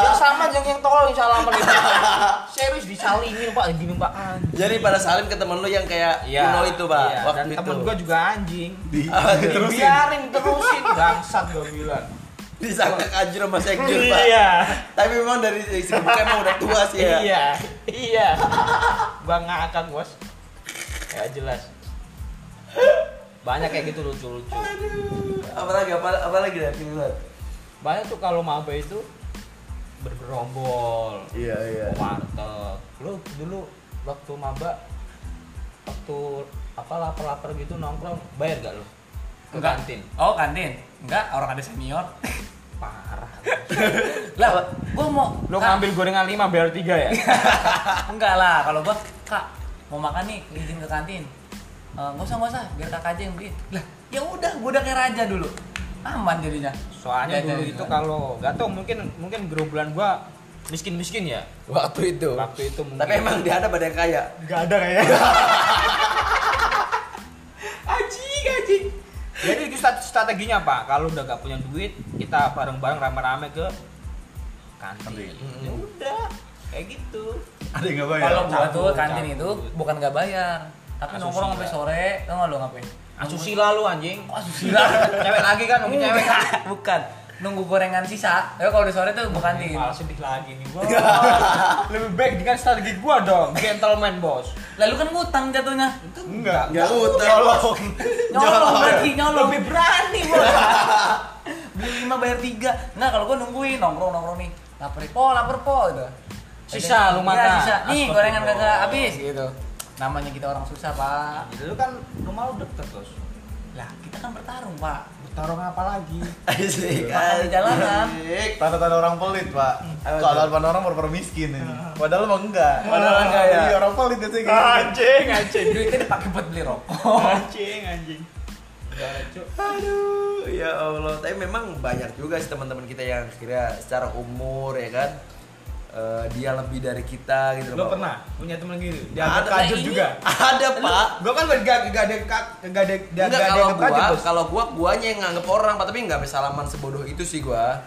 B: yang sama yang yang tolol yang salaman itu serius disalimin pak gini pak anjing
A: Jadi pada salim ke temen lu yang kayak Pino itu, Pak,
B: iya.
A: waktu
B: dan
A: itu.
B: temen gua juga anjing
D: Di,
A: Ah,
D: terus
B: biarin terusin bangsat gua bilang
A: Disangka kajur sama sekjur, Pak.
B: iya
A: Tapi memang dari segi buka emang udah tua sih ya.
B: Iya, iya. Gua ngakak, Bos. Ya jelas. Banyak kayak gitu lucu-lucu.
A: Apalagi apa- apalagi dari buat.
B: Banyak tuh kalau maba itu bergerombol,
A: Iya, iya.
B: warteg. Lu dulu waktu maba waktu apa lapar-lapar gitu nongkrong bayar gak lu? Ke
C: Enggak.
B: kantin.
C: Oh kantin? Enggak, orang ada senior.
B: Parah.
C: lah, gua mau.
B: Lu
C: Kak,
B: ngambil gorengan 5 bayar 3 ya?
C: Enggak lah, kalau gua kak mau makan nih izin ke kantin. Eh, Nggak usah nggak usah, biar kakak aja yang beliin. Lah, ya udah, gua udah kayak raja dulu. Aman jadinya.
B: Soalnya
C: Ya,
B: dulu
C: jadi
B: itu
C: kan.
B: kalau gak tau mungkin mungkin gerombolan gua miskin-miskin ya.
A: Waktu itu.
B: Waktu itu mungkin.
A: Tapi emang dia ada badan kaya.
B: Gak ada kan kayaknya. anjing, anjing. Jadi itu strate- strateginya Pak, kalau udah gak punya duit, kita bareng-bareng rame-rame ke kantin.
D: Kantin.
B: Ya udah, kayak gitu.
D: ada yang nggak bayar
A: Iya.
C: Kalau gua
B: Cabut,
C: tuh kantin itu
B: cabut.
C: bukan nggak bayar, tapi
B: Asusila.
C: nongkrong sampai sore, tau nggak lo ngapain?
B: Asusila lu anjing.
C: Oh, asusila.
B: cewek lagi kan, mungkin cewek kan.
C: Enggak, bukan. Nunggu gorengan sisa. Ya kalau udah sore tuh bukan
B: Nih,
C: nih.
B: malah sedih lagi nih gua. Lebih baik dengan strategi gua dong, gentleman bos.
C: Lalu kan ngutang jatuhnya.
D: enggak
A: Enggak utang.
D: tolong
C: Nyolong berarti nyolong.
B: Lebih berani bos.
C: Beli 5 bayar 3. Nah, kalau gua nungguin nongkrong-nongkrong nih. Lapar, po, lapar po gitu.
B: Sisa, lu makan.
C: Iya, sisa. Nih,
B: Astagfirullah.
C: gorengan kagak habis gitu. Namanya kita orang susah, Pak.
B: Lu kan rumah lu deket bos.
C: Lah, kita kan bertarung, Pak.
B: Bertarung apa lagi?
A: Asik.
B: Iya.
C: Makan di jalanan.
A: asik.
D: tanda-tanda orang pelit pak
A: Apa
D: kalau
A: tuh? Ah.
D: depan orang berper miskin ini padahal mah enggak
A: Padahal enggak, ya.
D: Iya, orang pelit biasanya kayak gitu.
B: Anjing, anjing.
C: Duitnya dipakai buat beli rokok.
B: Anjing, anjing.
A: Aduh, ya Allah. Tapi memang banyak juga sih teman-teman kita yang kira secara umur ya kan eh, dia lebih dari kita gitu
B: Lo
A: Pak.
B: pernah punya temen gitu? Dia
A: Ada,
B: ada kajut
C: ini.
B: juga.
A: Ada, Pak.
B: Gua kan gak gak gak ada kak- gak ada gak
A: Enggak
B: gak ada
A: kalau
B: yang kajut
A: gua,
B: bos.
A: kalau gua guanya yang nganggep orang, Pak, tapi enggak bisa salaman sebodoh itu sih gua.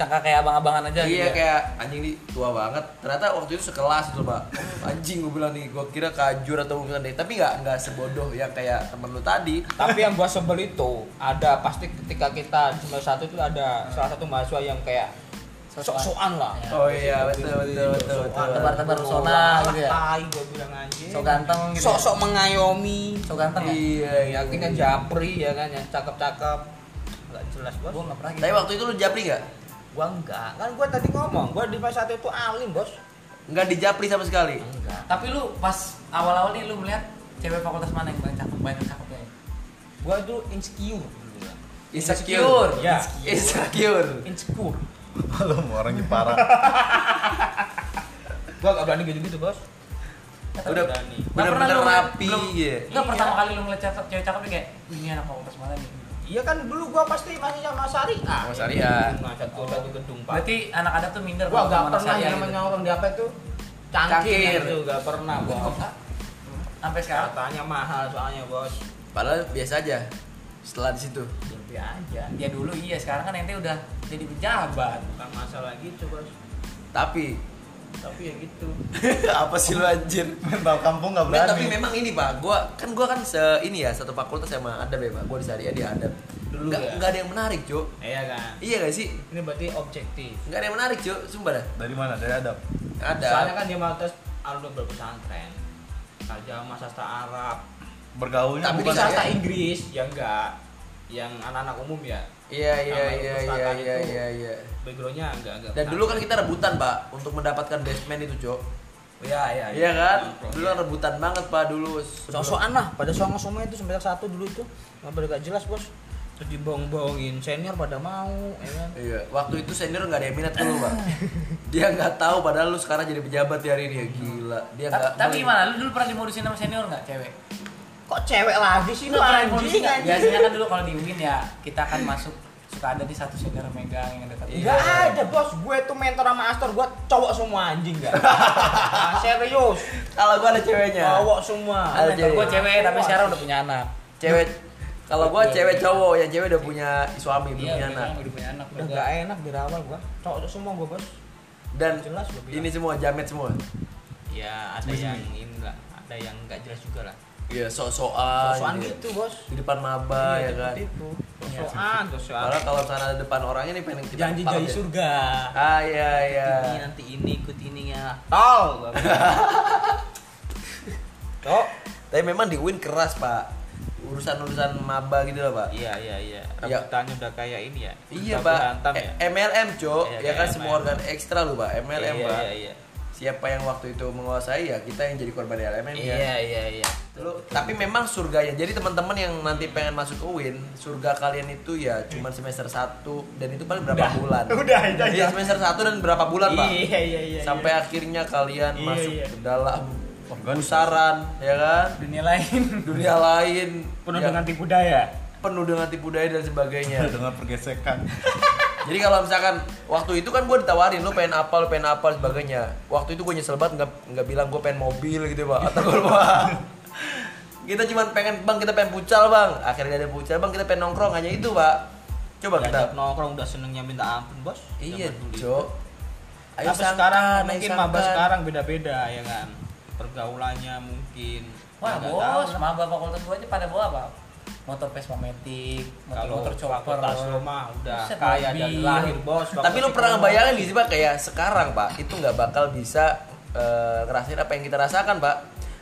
C: sangka kayak abang-abangan
A: iya
C: aja gitu ya.
A: kayak anjing di tua banget ternyata waktu itu sekelas itu pak Oh, anjing gue bilang nih gue kira kajur atau mungkin deh tapi nggak nggak sebodoh yang kayak temen lu tadi
B: Tapi yang gua sebel itu ada pasti ketika kita di semester satu itu ada salah satu mahasiswa yang kayak sok-sokan lah.
A: oh iya betul betul betul, betul.
C: Tebar-tebar pesona gitu ya.
B: Tai gua bilang anjing.
C: Sok ganteng gitu. ya.
B: Sok-sok mengayomi.
C: Sok ganteng ya.
A: iya
B: Ya,
A: iya
B: akhirnya japri ya kan yang cakep-cakep. Enggak jelas bos.
C: Gua nggak pernah gitu.
A: tapi waktu itu lu japri nggak
B: Gua enggak. Kan gua tadi ngomong, gua di semester satu itu alim, Bos.
A: nggak dijapri sama sekali
B: Enggak.
C: Tapi lu pas awal-awal nih lu melihat cewek fakultas mana yang paling cakep, paling cakep ya?
B: Gua itu insecure dulu ya.
A: insecure
B: Ya.
C: Iya.
A: insecure
B: Insecure.
D: Lu mau orang Jepara.
B: Gua gak berani gitu-gitu, Bos.
A: udah
B: Berani.
A: bener-bener
C: lu ngeliat-
A: rapi
C: belum-
A: iya.
C: Enggak pertama kali lu ngeliat cakep- cewek cakep nih kayak, "Wih, ini anak fakultas mana nih?
B: Iya kan dulu gua pasti masih sama Syariah.
A: Sama syariah.
B: Nah, satu satu gedung, Pak.
C: Berarti anak anak tuh minder
B: gua gak
C: kalau sama anak
B: pernah
C: saya
B: yang
C: gitu.
B: namanya orang di apa itu cangkir,
A: Cangkir.
B: itu gak pernah bos
C: Sampai sekarang
B: katanya mahal soalnya bos
A: padahal biasa aja setelah di situ
C: Mimpi aja. Dia dulu iya, sekarang kan ente udah jadi pejabat.
B: bukan masalah gitu bos
A: tapi
B: tapi ya gitu
A: apa sih lu anjir
D: Mental kampung nggak
A: Nggak,
D: berani.
A: tapi memang ini pak, gua kan gua kan se ini ya satu fakultas sama adab ya pak, gua di syariah dia adab.
B: Dulu
A: nggak
B: ya?
A: nggak ada yang menarik cuk.
B: iya kan
A: Iya gak sih?
B: ini berarti objektif
A: Nggak ada yang menarik cuk, sumpah dah.
D: Dari mana? Dari adab.
A: Ada.
B: soalnya kan dia mau tes alumni berpesantren kerja sama sastra Arab
D: Bergaulnya
A: Tapi
B: bukan
A: bisa
B: sastra
A: ya?
B: Inggris ya enggak yang anak-anak umum ya
A: Iya iya
B: Sama
A: iya iya
B: perpustakaan
A: iya
B: itu.
A: iya iya.
B: backgroundnya enggak enggak
A: Dan dulu kan kita rebutan pak untuk mendapatkan basement itu cuk.
B: iya iya
A: Iya kan? Dulu kan rebutan banget pak dulu. Sebelum-
B: Sosokan lah, pada soal semua itu semester satu dulu itu nggak pada gak jelas bos. Terus dibohong-bohongin senior pada mau, ya kan?
A: Iya, waktu itu senior nggak ada yang minat ke lu pak. Dia nggak tahu padahal lu sekarang jadi pejabat ya hari ini ya gila. Dia
C: Ta-
A: nggak.
C: Tapi gimana? Lu dulu pernah dimodusin sama senior nggak cewek?
B: Kok cewek lagi sih lu
C: Lu pernah
B: anjing
C: dimodusin nggak?
B: anjing?
C: Biasanya kan dulu kalau di UIN ya, kita kan masuk suka ada di satu senior megang yang dekat.
B: Enggak
A: Iya.
B: ada bos, gue tuh mentor sama Astor, gue cowok semua anjing gak? Nah, serius,
A: Kalau gua ada ceweknya.
B: cowok semua
A: Ada
C: Mentor gue
A: jadi-
C: cewek tapi sekarang udah punya anak.
A: cewek kalau gua cewek cowok yang cewek udah punya suami belum punya anak
C: Iya, udah punya anak.
B: Udah gak enak dari awal gue, cowok semua gue bos
A: dan
B: Jelas gua bilang.
A: ini semua jamet semua
B: Ya ada yang ini enggak, ada yang gak jelas juga lah
A: iya sok sokan
B: Sosokan gitu bos
A: di depan maba ya kan
B: Iya, Itu, sosokan, sosokan Iya,
A: Padahal kalau sana ada depan orangnya nih pengen kita
B: Janji
A: kepal
B: jadi
A: dia.
B: surga
A: ah iya iya
B: Ini nanti ini ikut ini ya Tol gua bilang. Cok
A: tapi memang di win keras pak urusan urusan maba gitu loh pak
B: Iya iya iya,
A: Iya.
B: rebutannya udah kayak ini ya
A: iya
B: baku
A: pak
B: hantam ya.
A: E- MLM cok
B: Iya,
A: ya kan
B: kayak
A: semua
B: MLM.
A: organ ekstra loh pak MLM
B: Iya,
A: pak
B: Iya iya
A: siapa yang waktu itu menguasai ya kita yang jadi korban LMM ya
B: Iya iya iya.
A: Lu, tapi memang surganya. Jadi teman-teman yang nanti pengen masuk UIN, surga kalian itu ya cuman semester 1 dan itu paling berapa bulan.
B: Udah itu
A: Iya, semester 1 dan berapa bulan, Pak?
B: Iya iya iya.
A: Sampai akhirnya kalian
B: Iya,
A: masuk
B: iya.
A: ke dalam
D: Organ.
A: pusaran, ya kan?
C: Dunia lain.
A: Dunia lain
B: penuh
A: ya,
B: dengan tipu daya.
A: penuh dengan tipu daya dan sebagainya.
D: Dengan pergesekan.
A: Jadi kalau misalkan waktu itu kan gue ditawarin lu pengen apa, lu pengen apa sebagainya. Waktu itu gue nyesel banget nggak nggak bilang gue pengen mobil gitu pak atau gue Kita cuman pengen bang kita pengen pucal bang. Akhirnya ada pucal bang kita pengen nongkrong hanya itu pak. Coba kita.
B: Diajak nongkrong udah senengnya minta ampun, Bos.
A: Iya
B: Zaman dulu.
A: cok.
B: Tapi
A: sangkan,
B: sekarang
A: ayo
B: mungkin
A: sangkan.
B: maba sekarang beda-beda ya kan. Pergaulannya mungkin Ya,
C: Wah
B: Nggak
C: bos,
B: tahu lah.
C: maba fakultas gue aja pada bawa apa? Motor Vespa Matic, motor,
B: kalau
C: motor chopper.
B: fakultas rumah udah
C: Buset,
B: kaya dari
C: mobil.
B: lahir, Bos.
A: Tapi lu
B: Fakultas
A: pernah
B: ekonomi.
A: ngebayangin di sih pak kayak sekarang pak itu nggak bakal bisa eh, ngerasain apa yang kita rasakan pak.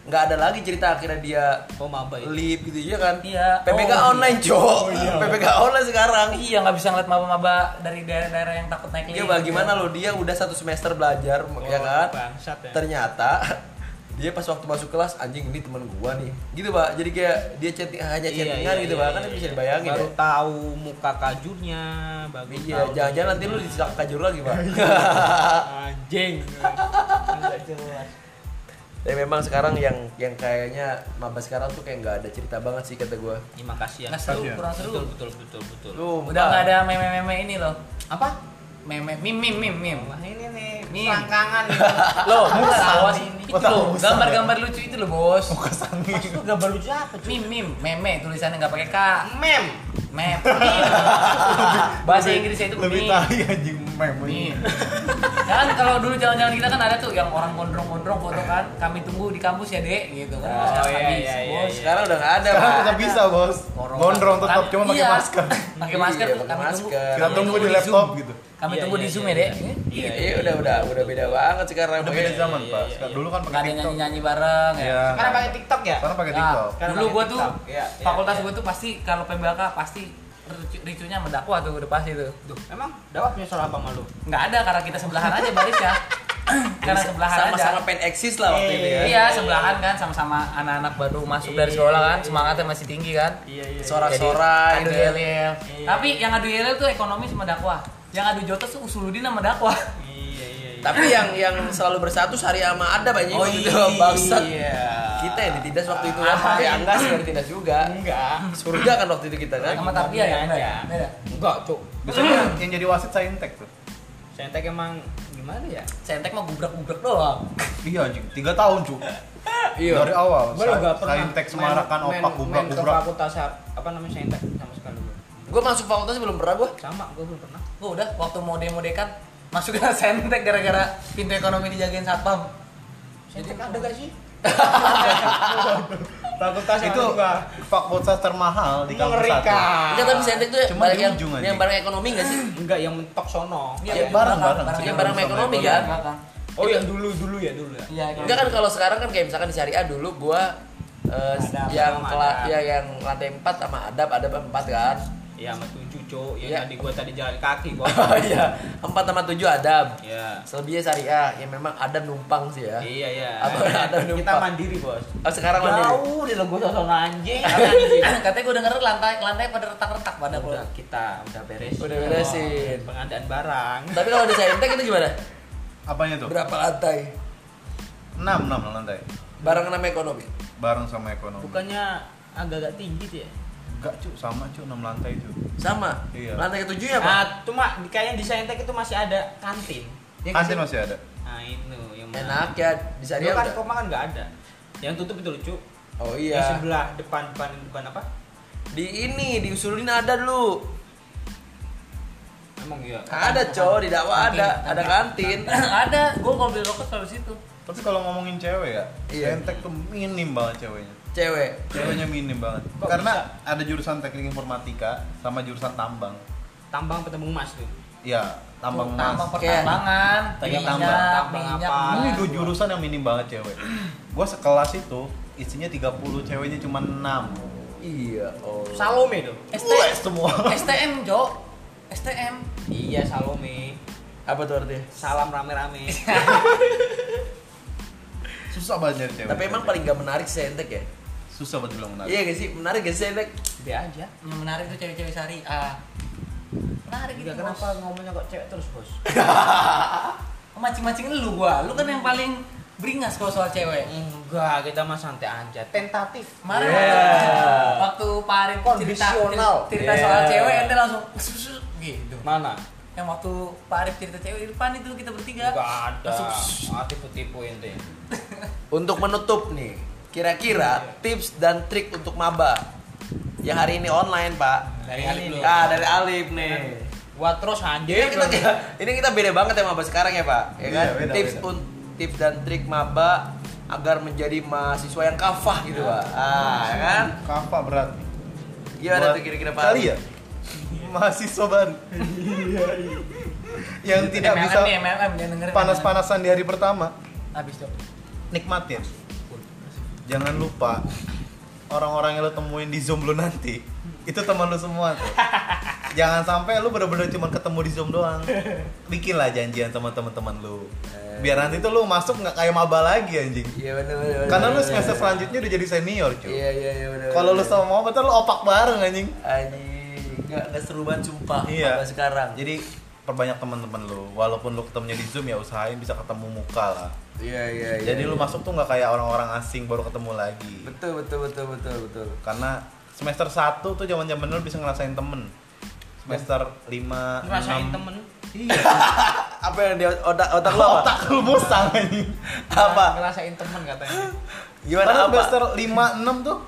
A: Nggak ada lagi cerita akhirnya dia
B: Oh, maba itu.
A: lip gitu ya kan
C: Iya.
A: PPK
C: Oh,
A: online cok PPK online sekarang
C: Iya nggak bisa ngeliat maba-maba dari daerah-daerah yang takut naik
A: dia
B: Iya,
A: bagaimana loh dia udah satu semester belajar ya
B: Oh,
A: kan
B: bangsat ya.
A: ternyata dia pas waktu masuk kelas anjing ini teman gua nih gitu pak jadi kayak dia chatting hanya
B: Iya,
A: chattingan
B: iya,
A: gitu
B: iya,
A: pak kan
B: iya,
A: bisa
B: iya.
A: dibayangin
B: baru
A: ya
B: tahu muka kajurnya baru
A: iya
B: tahu Iya.
A: jangan-jangan nanti lu disilak kajur lagi pak
B: anjing Nggak jelas.
A: tapi memang sekarang yang yang kayaknya maba sekarang tuh kayak nggak ada cerita banget sih kata gua
B: terima kasih ya
C: Nggak seru,
D: Iya.
C: kurang seru.
B: betul betul betul betul
A: lu
C: Udah nggak ada meme-meme ini loh. Apa? Meme, mim, mim, mim, mim.
B: Wah ini nih,
C: Nih.
B: selangkangan nih.
C: Loh,
B: Bukan
C: awas
B: ini.
C: Itu loh,
D: Otak-otak.
C: gambar-gambar lucu itu loh bos.
B: Maksud lu gambar lucu apa cuy?
C: Mim, mim, meme tulisannya nggak pakai k,
B: Mem.
C: mem. Bahasa Inggrisnya itu
D: lebih
C: meme.
D: tahi anjing meme
C: Nih. kan kalau dulu jalan-jalan kita kan ada tuh yang orang gondrong-gondrong foto kan, kami tunggu di kampus ya, Dek, gitu kan.
E: Oh,
C: Masker
E: iya,
C: habis,
E: iya, iya,
C: bos.
E: iya.
A: Sekarang udah nggak ada,
D: sekarang
A: Pak.
D: tetap bisa bos
C: Corona.
D: gondrong tetap
C: Kami-
D: cuma pakai
C: iya.
D: masker
C: Pakai masker
A: Iya,
C: tuh
A: pakai
C: kami tunggu.
A: masker.
D: kita
A: Kami
D: tunggu di
C: Zoom.
D: laptop gitu
C: Kami
E: Iya,
C: tunggu
E: iya,
C: di Zoom
E: iya,
C: ya, Dek.
E: iya.
A: Iya, iya, udah udah udah beda banget sekarang.
D: udah
A: Pak.
D: beda zaman
E: iya,
D: pak
E: iya,
D: Sekarang- dulu kan
C: Nggak
D: pakai
C: ada
D: tiktok
C: nyanyi-nyanyi bareng ya.
D: Iya.
B: Sekarang pakai TikTok ya?
D: sekarang pakai
C: Nah,
D: tiktok
B: Sekarang
C: dulu
B: pakai
C: gua tuh
B: TikTok. Iya, iya,
C: fakultas
B: iya.
C: gua tuh pasti kalau PBK pasti ricu- ricunya mendakwa tuh udah pasti tuh.
B: Duh, emang Dawa punya salah apa malu?
C: Nggak ada karena kita sebelahan aja baris ya. karena sebelahan aja.
A: Sama-sama pengen eksis lah waktu itu ya.
C: Iya, sebelahan kan sama-sama anak-anak baru masuk dari
E: Iya,
C: sekolah kan, semangatnya masih tinggi kan.
B: Iya, iya.
A: Sorak-sorai.
C: Adu
A: gitu ya.
C: yel
B: Iya.
C: Tapi yang adu yel tuh ekonomi sama dakwah. Yang adu jotos tuh usuludin sama dakwah.
B: Iya, iya, iya.
A: Tapi yang yang selalu bersatu sehari sama ada banyak
B: Oh
A: gitu
B: iya. ya,
A: bangsat. Kita yang ditindas waktu itu kan, tapi Angga sih yang ditindas juga.
B: Enggak.
A: Surga kan waktu itu kita kan.
C: Sama tapi ya,
B: Iya,
C: Bray?
B: iya.
C: Beda.
B: Enggak, Cuk.
D: biasanya yang jadi wasit saya intek tuh
B: Sentek emang gimana ya?
C: Sentek mah gubrak-gubrak doang.
D: iya anjing tiga tahun cu
A: Iya.
D: dari awal
B: Gue lo
D: saya
B: gak pernah
D: intek semarakan
B: main-
D: opak
B: main-
D: gubrak
B: main ke
D: gubrak
B: fakultas ap- apa namanya saintek sama sekali gue
A: Gue masuk fakultas belum pernah gue.
B: sama gue belum pernah
C: Gua udah waktu mau demo dekan masuk ke sentek gara-gara pintu ekonomi dijagain satpam.
B: saintek ada gak sih fakultas
D: itu fakultas termahal di kampus satu
B: mengerikan
A: Enggak tapi sentek kan tuh
D: Cuma
A: barang
D: di
A: yang
D: ujung aja.
A: yang barang ekonomi enggak sih?
B: enggak yang mentok sono
D: Iya, bareng-bareng.
A: Yang
C: Yang
A: barang
C: barang
D: sama
A: ekonomi
D: ekonomi.
A: kan.
B: oh yang dulu dulu ya dulu ya
C: Iya,
A: Enggak kan kalau sekarang kan kayak misalkan di syariah dulu gua eh,
B: Adab
A: yang
B: sama
A: kela-
B: adab.
A: ya yang lantai 4 sama adab adab 4 kan.
B: ya sama tujuh cowok yang
A: Iya.
B: tadi gue tadi jalan kaki gue
A: Oh iya, 4 sama 7 adab.
B: ya
A: Selebihnya syariah yang ah, ya memang adab numpang sih ya.
B: iya iya
A: Apa- ada
B: kita
A: numpang.
B: mandiri bos
A: Oh, sekarang mana?
B: jauh di logo sono anjing
C: Katanya gue denger lantai lantai pada retak-retak pada
B: udah kita udah beresin
A: Udah beresin.
B: pengadaan barang
A: Tapi kalau di Saintek itu gimana?
D: apanya tuh
A: Berapa lantai?
D: enam enam lantai
A: Barang nama ekonomi.
D: bareng sama ekonomi
B: bukannya agak-agak tinggi tuh ya
D: enggak cu sama cu enam lantai cu
A: Sama.
D: Iya.
A: Lantai ketujuh ya, Pak?
B: Ah, cuma di- kayaknya di Saintek itu masih ada kantin. Ya nggak
D: kantin
B: sih?
D: masih ada
B: Nah, itu yang mana?
A: Enak ya di
B: Dulu
A: syariah.
B: kan
A: udah.
B: koma kan nggak ada. Yang tutup itu lucu.
A: Oh
B: Yang
A: iya.
B: sebelah depan depan bukan apa?
A: Di ini diusulin ada dulu.
B: Emang iya.
A: Ada cowok di dakwah ada, ada kantin.
C: ada gue kalau beli rokok selalu situ
D: tapi kalau ngomongin cewek ya
A: Iya.
D: entek tuh minim banget ceweknya
A: Cewek.
D: ceweknya minim banget
B: Kok
D: karena
B: bisa?
D: ada jurusan teknik informatika sama jurusan tambang
B: Tambang ketemu emas tuh.
D: ya tambang
C: Oh,
D: emas
C: tambang
A: Kayak-
C: pertambangan
D: kayak
C: minyak
D: tambang.
B: Tambang
C: minyak
B: apa?
D: ini
C: emas.
D: dua jurusan yang minim banget cewek gua sekelas itu isinya 30 ceweknya cuma 6
A: Iya. Oh.
B: Salome tuh.
C: STM
D: semua
C: STM Jo STM
B: Iya, Salome.
A: Apa tuh artinya?
B: Salam rame-rame.
D: susah banget nyari cewek
A: Tapi emang paling gak menarik Saintek ya?
D: susah banget bilang menarik
A: Iya gak sih? Menarik gak sih Saintek?
B: Dia aja.
C: yang menarik tuh cewek-cewek syariah menarik gitu
B: Enggak
C: kenapa
B: kenapa ngomongnya kok cewek terus, Bos.
C: mancing-mancing Oh, lu gua lu kan yang paling beringas kalau soal cewek
B: Enggak, kita mah santai aja. Tentatif.
C: kemarin
A: Yeah.
C: waktu, waktu Pak Arif cerita
B: Iya. Kondisional. Iya.
C: cerita
A: Yeah.
C: soal cewek ente langsung "Sus-sus-sus," gitu
B: Mana?
C: yang waktu Pak Arif cerita cewek di depan itu kita bertiga
B: Enggak ada.
C: Langsung, "Sus."
B: Ah, tipu-tipu ente.
A: Untuk menutup nih,
D: Hmm.
A: kira-kira tips dan trik untuk maba yang hari ini online pak.
B: Dari Alif dulu.
A: Ah dari Alif nih.
B: Gua terus anjing.
A: Ini Iya, kita ini kita beda banget ya maba sekarang ya pak. Ya kan?
D: Iya, beda,
A: tips
D: beda.
A: un- tips dan trik maba agar menjadi mahasiswa yang kafah gitu
D: Iya.
A: pak. Ah ya kan?
D: Kapa berat nih.
A: Gimana
D: Buat
A: tuh kira-kira pak?
D: Kali ya? Mahasiswa baru. Yang tidak
C: MLM
D: bisa
C: nih, MLM dia dengerin
D: panas-panasan di hari pertama,
C: MLM. habis dong
D: nikmatin. Jangan lupa orang-orang yang lo temuin di Zoom lo nanti, itu teman lo semua tuh. Jangan sampai lo bener-bener cuma ketemu di Zoom doang. Bikinlah janjian sama teman-teman lo. Biar nanti tuh lo masuk nggak kayak maba lagi anjing.
A: Iya benar benar.
D: Karena lo semester selanjutnya udah jadi senior cuy.
A: Iya iya iya benar.
D: Kalau lo sama mau betul lo opak bareng anjing.
A: anjing nggak nggak seru banget sumpah
D: Iya.
A: maba sekarang.
D: Jadi perbanyak teman-teman lu, walaupun lu ketemunya di Zoom ya usahain bisa ketemu muka lah.
A: Iya iya. iya,
D: Jadi lu
A: iya.
D: masuk tuh nggak kayak orang-orang asing baru ketemu lagi.
A: Betul betul betul betul betul.
D: Karena semester 1 tuh zaman-zaman lu bisa ngerasain temen. Semester 5,
B: Ngerasain
D: 6
B: temen.
D: Iya.
A: apa yang di otak otak lo apa?
D: Otak lu musang anjing.
A: apa?
E: ngerasain temen katanya
A: Gimana
D: Padahal
A: apa?
D: semester 5 6 tuh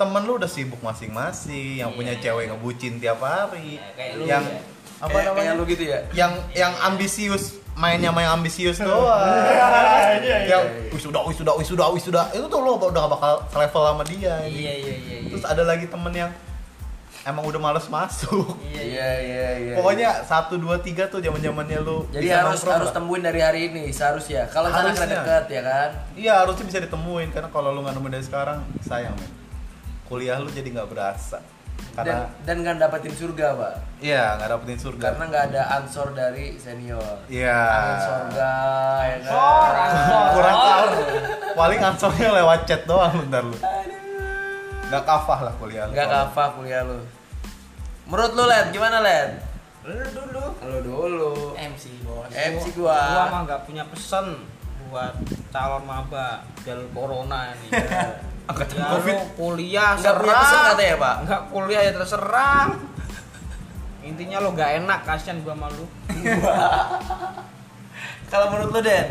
D: temen lu udah sibuk masing-masing, yang punya cewek ngebucin tiap hari.
E: Iya, kayak lu
D: yang
E: ya.
D: apa
A: Kayak-
D: namanya? Iya,
A: Kayak lu gitu ya?
D: yang yang ambisius mainnya main ambisius doang. yang wis sudah wis sudah wis sudah wis sudah itu tuh lo udah gak bakal level sama dia. anjing.
E: iya iya iya iya
D: Terus ada lagi temen yang emang udah males masuk.
E: Iya, iya.
A: Iya iya iya.
D: Pokoknya satu dua tiga tuh zaman zamannya lu.
A: jadi
D: bisa
A: harus
D: nongkrong
A: harus
D: lah.
A: temuin dari hari ini seharusnya. Kalau sana kena
D: Harusnya.
A: deket ya kan?
D: Iya harusnya bisa ditemuin karena kalau lu nggak nemu dari sekarang sayang men. Kuliah lu jadi nggak berasa
A: Dan
D: karena
A: dan nggak dapetin surga pak.
D: iya nggak dapetin surga.
A: Karena nggak ada ansor dari senior.
D: Iya.
A: Angin surga ya kan?
B: Ansor, ansor.
D: Kurang tahu. Paling ansornya lewat chat doang bentar lu. Nggak kafah lah kuliah lu. gitu.
A: Nggak kafah kuliah lu. Menurut lu Len, gimana Len?
B: Lu dulu.
A: Lu dulu.
C: MC bos
A: MC
B: Gua
A: gua.
B: mah nggak punya pesen buat calon maba jalur corona ini.
D: Angkatan
B: ya
D: Covid.
B: lu kuliah
A: Nggak punya
B: serang.
A: pesen katanya, Pak?
B: Nggak kuliah ya terserah. Intinya lo nggak enak kasihan gua malu.
A: Kalau menurut lu Den?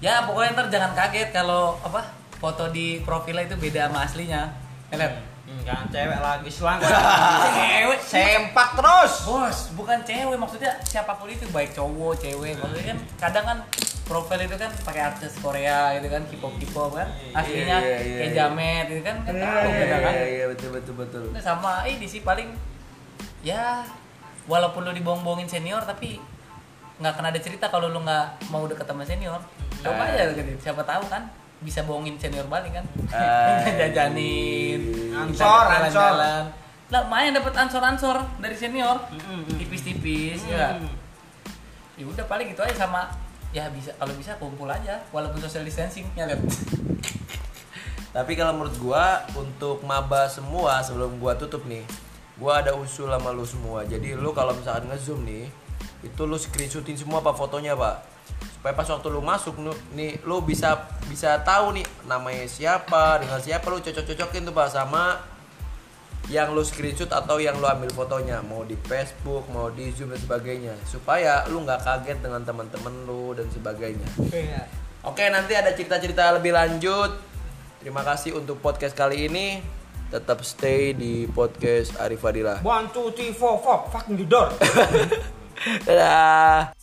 C: ya pokoknya ntar jangan kaget kalau apa foto di profilnya itu beda sama aslinya Ya, Lep?
B: Jangan Hmm, kan cewek lagi selang.
C: Cewek.
B: sempak terus.
C: bos bukan cewek maksudnya siapapun itu baik cowok cewek maksudnya kan kadang kan profil itu kan pakai artis Korea gitu kan K-pop K-pop kan aslinya
A: Iya, iya,
C: kayak
A: iya.
C: jamet gitu kan kan tahu beda kan
A: iya betul betul betul.
C: Itu sama ini sih paling ya walaupun lu dibohong-bohongin senior tapi nggak akan ada cerita kalau lu nggak mau deket sama senior coba
A: Ah.
C: aja deketin. siapa tahu kan bisa bohongin senior balik kan
A: Ah.
C: jajanin
B: Ansor, ansor.
C: jalan-jalan. lah main dapat ansor-ansor dari senior tipis-tipis ya
B: Hmm,
C: ya udah paling gitu aja sama ya bisa kalau bisa kumpul aja walaupun social distancing ya Lep.
A: Tapi kalau menurut gua untuk maba semua sebelum gua tutup nih, gua ada usul sama lu semua. Jadi lu kalau misalkan ngezoom nih, itu lu screenshotin semua pak fotonya pak, supaya pas waktu lu masuk nu- nih lu bisa bisa tahu nih namanya siapa dengan siapa lu cocok-cocokin tuh pak sama yang lu screenshot atau yang lu ambil fotonya mau di Facebook mau di Zoom dan sebagainya supaya lu nggak kaget dengan teman-teman lu dan sebagainya.
B: iya.
A: Oke, nanti ada cerita-cerita lebih lanjut. Terima kasih untuk podcast kali ini. Tetap stay di podcast Arif Fadila.
B: One, two, three, four, four, fucking the door.
A: Dadah.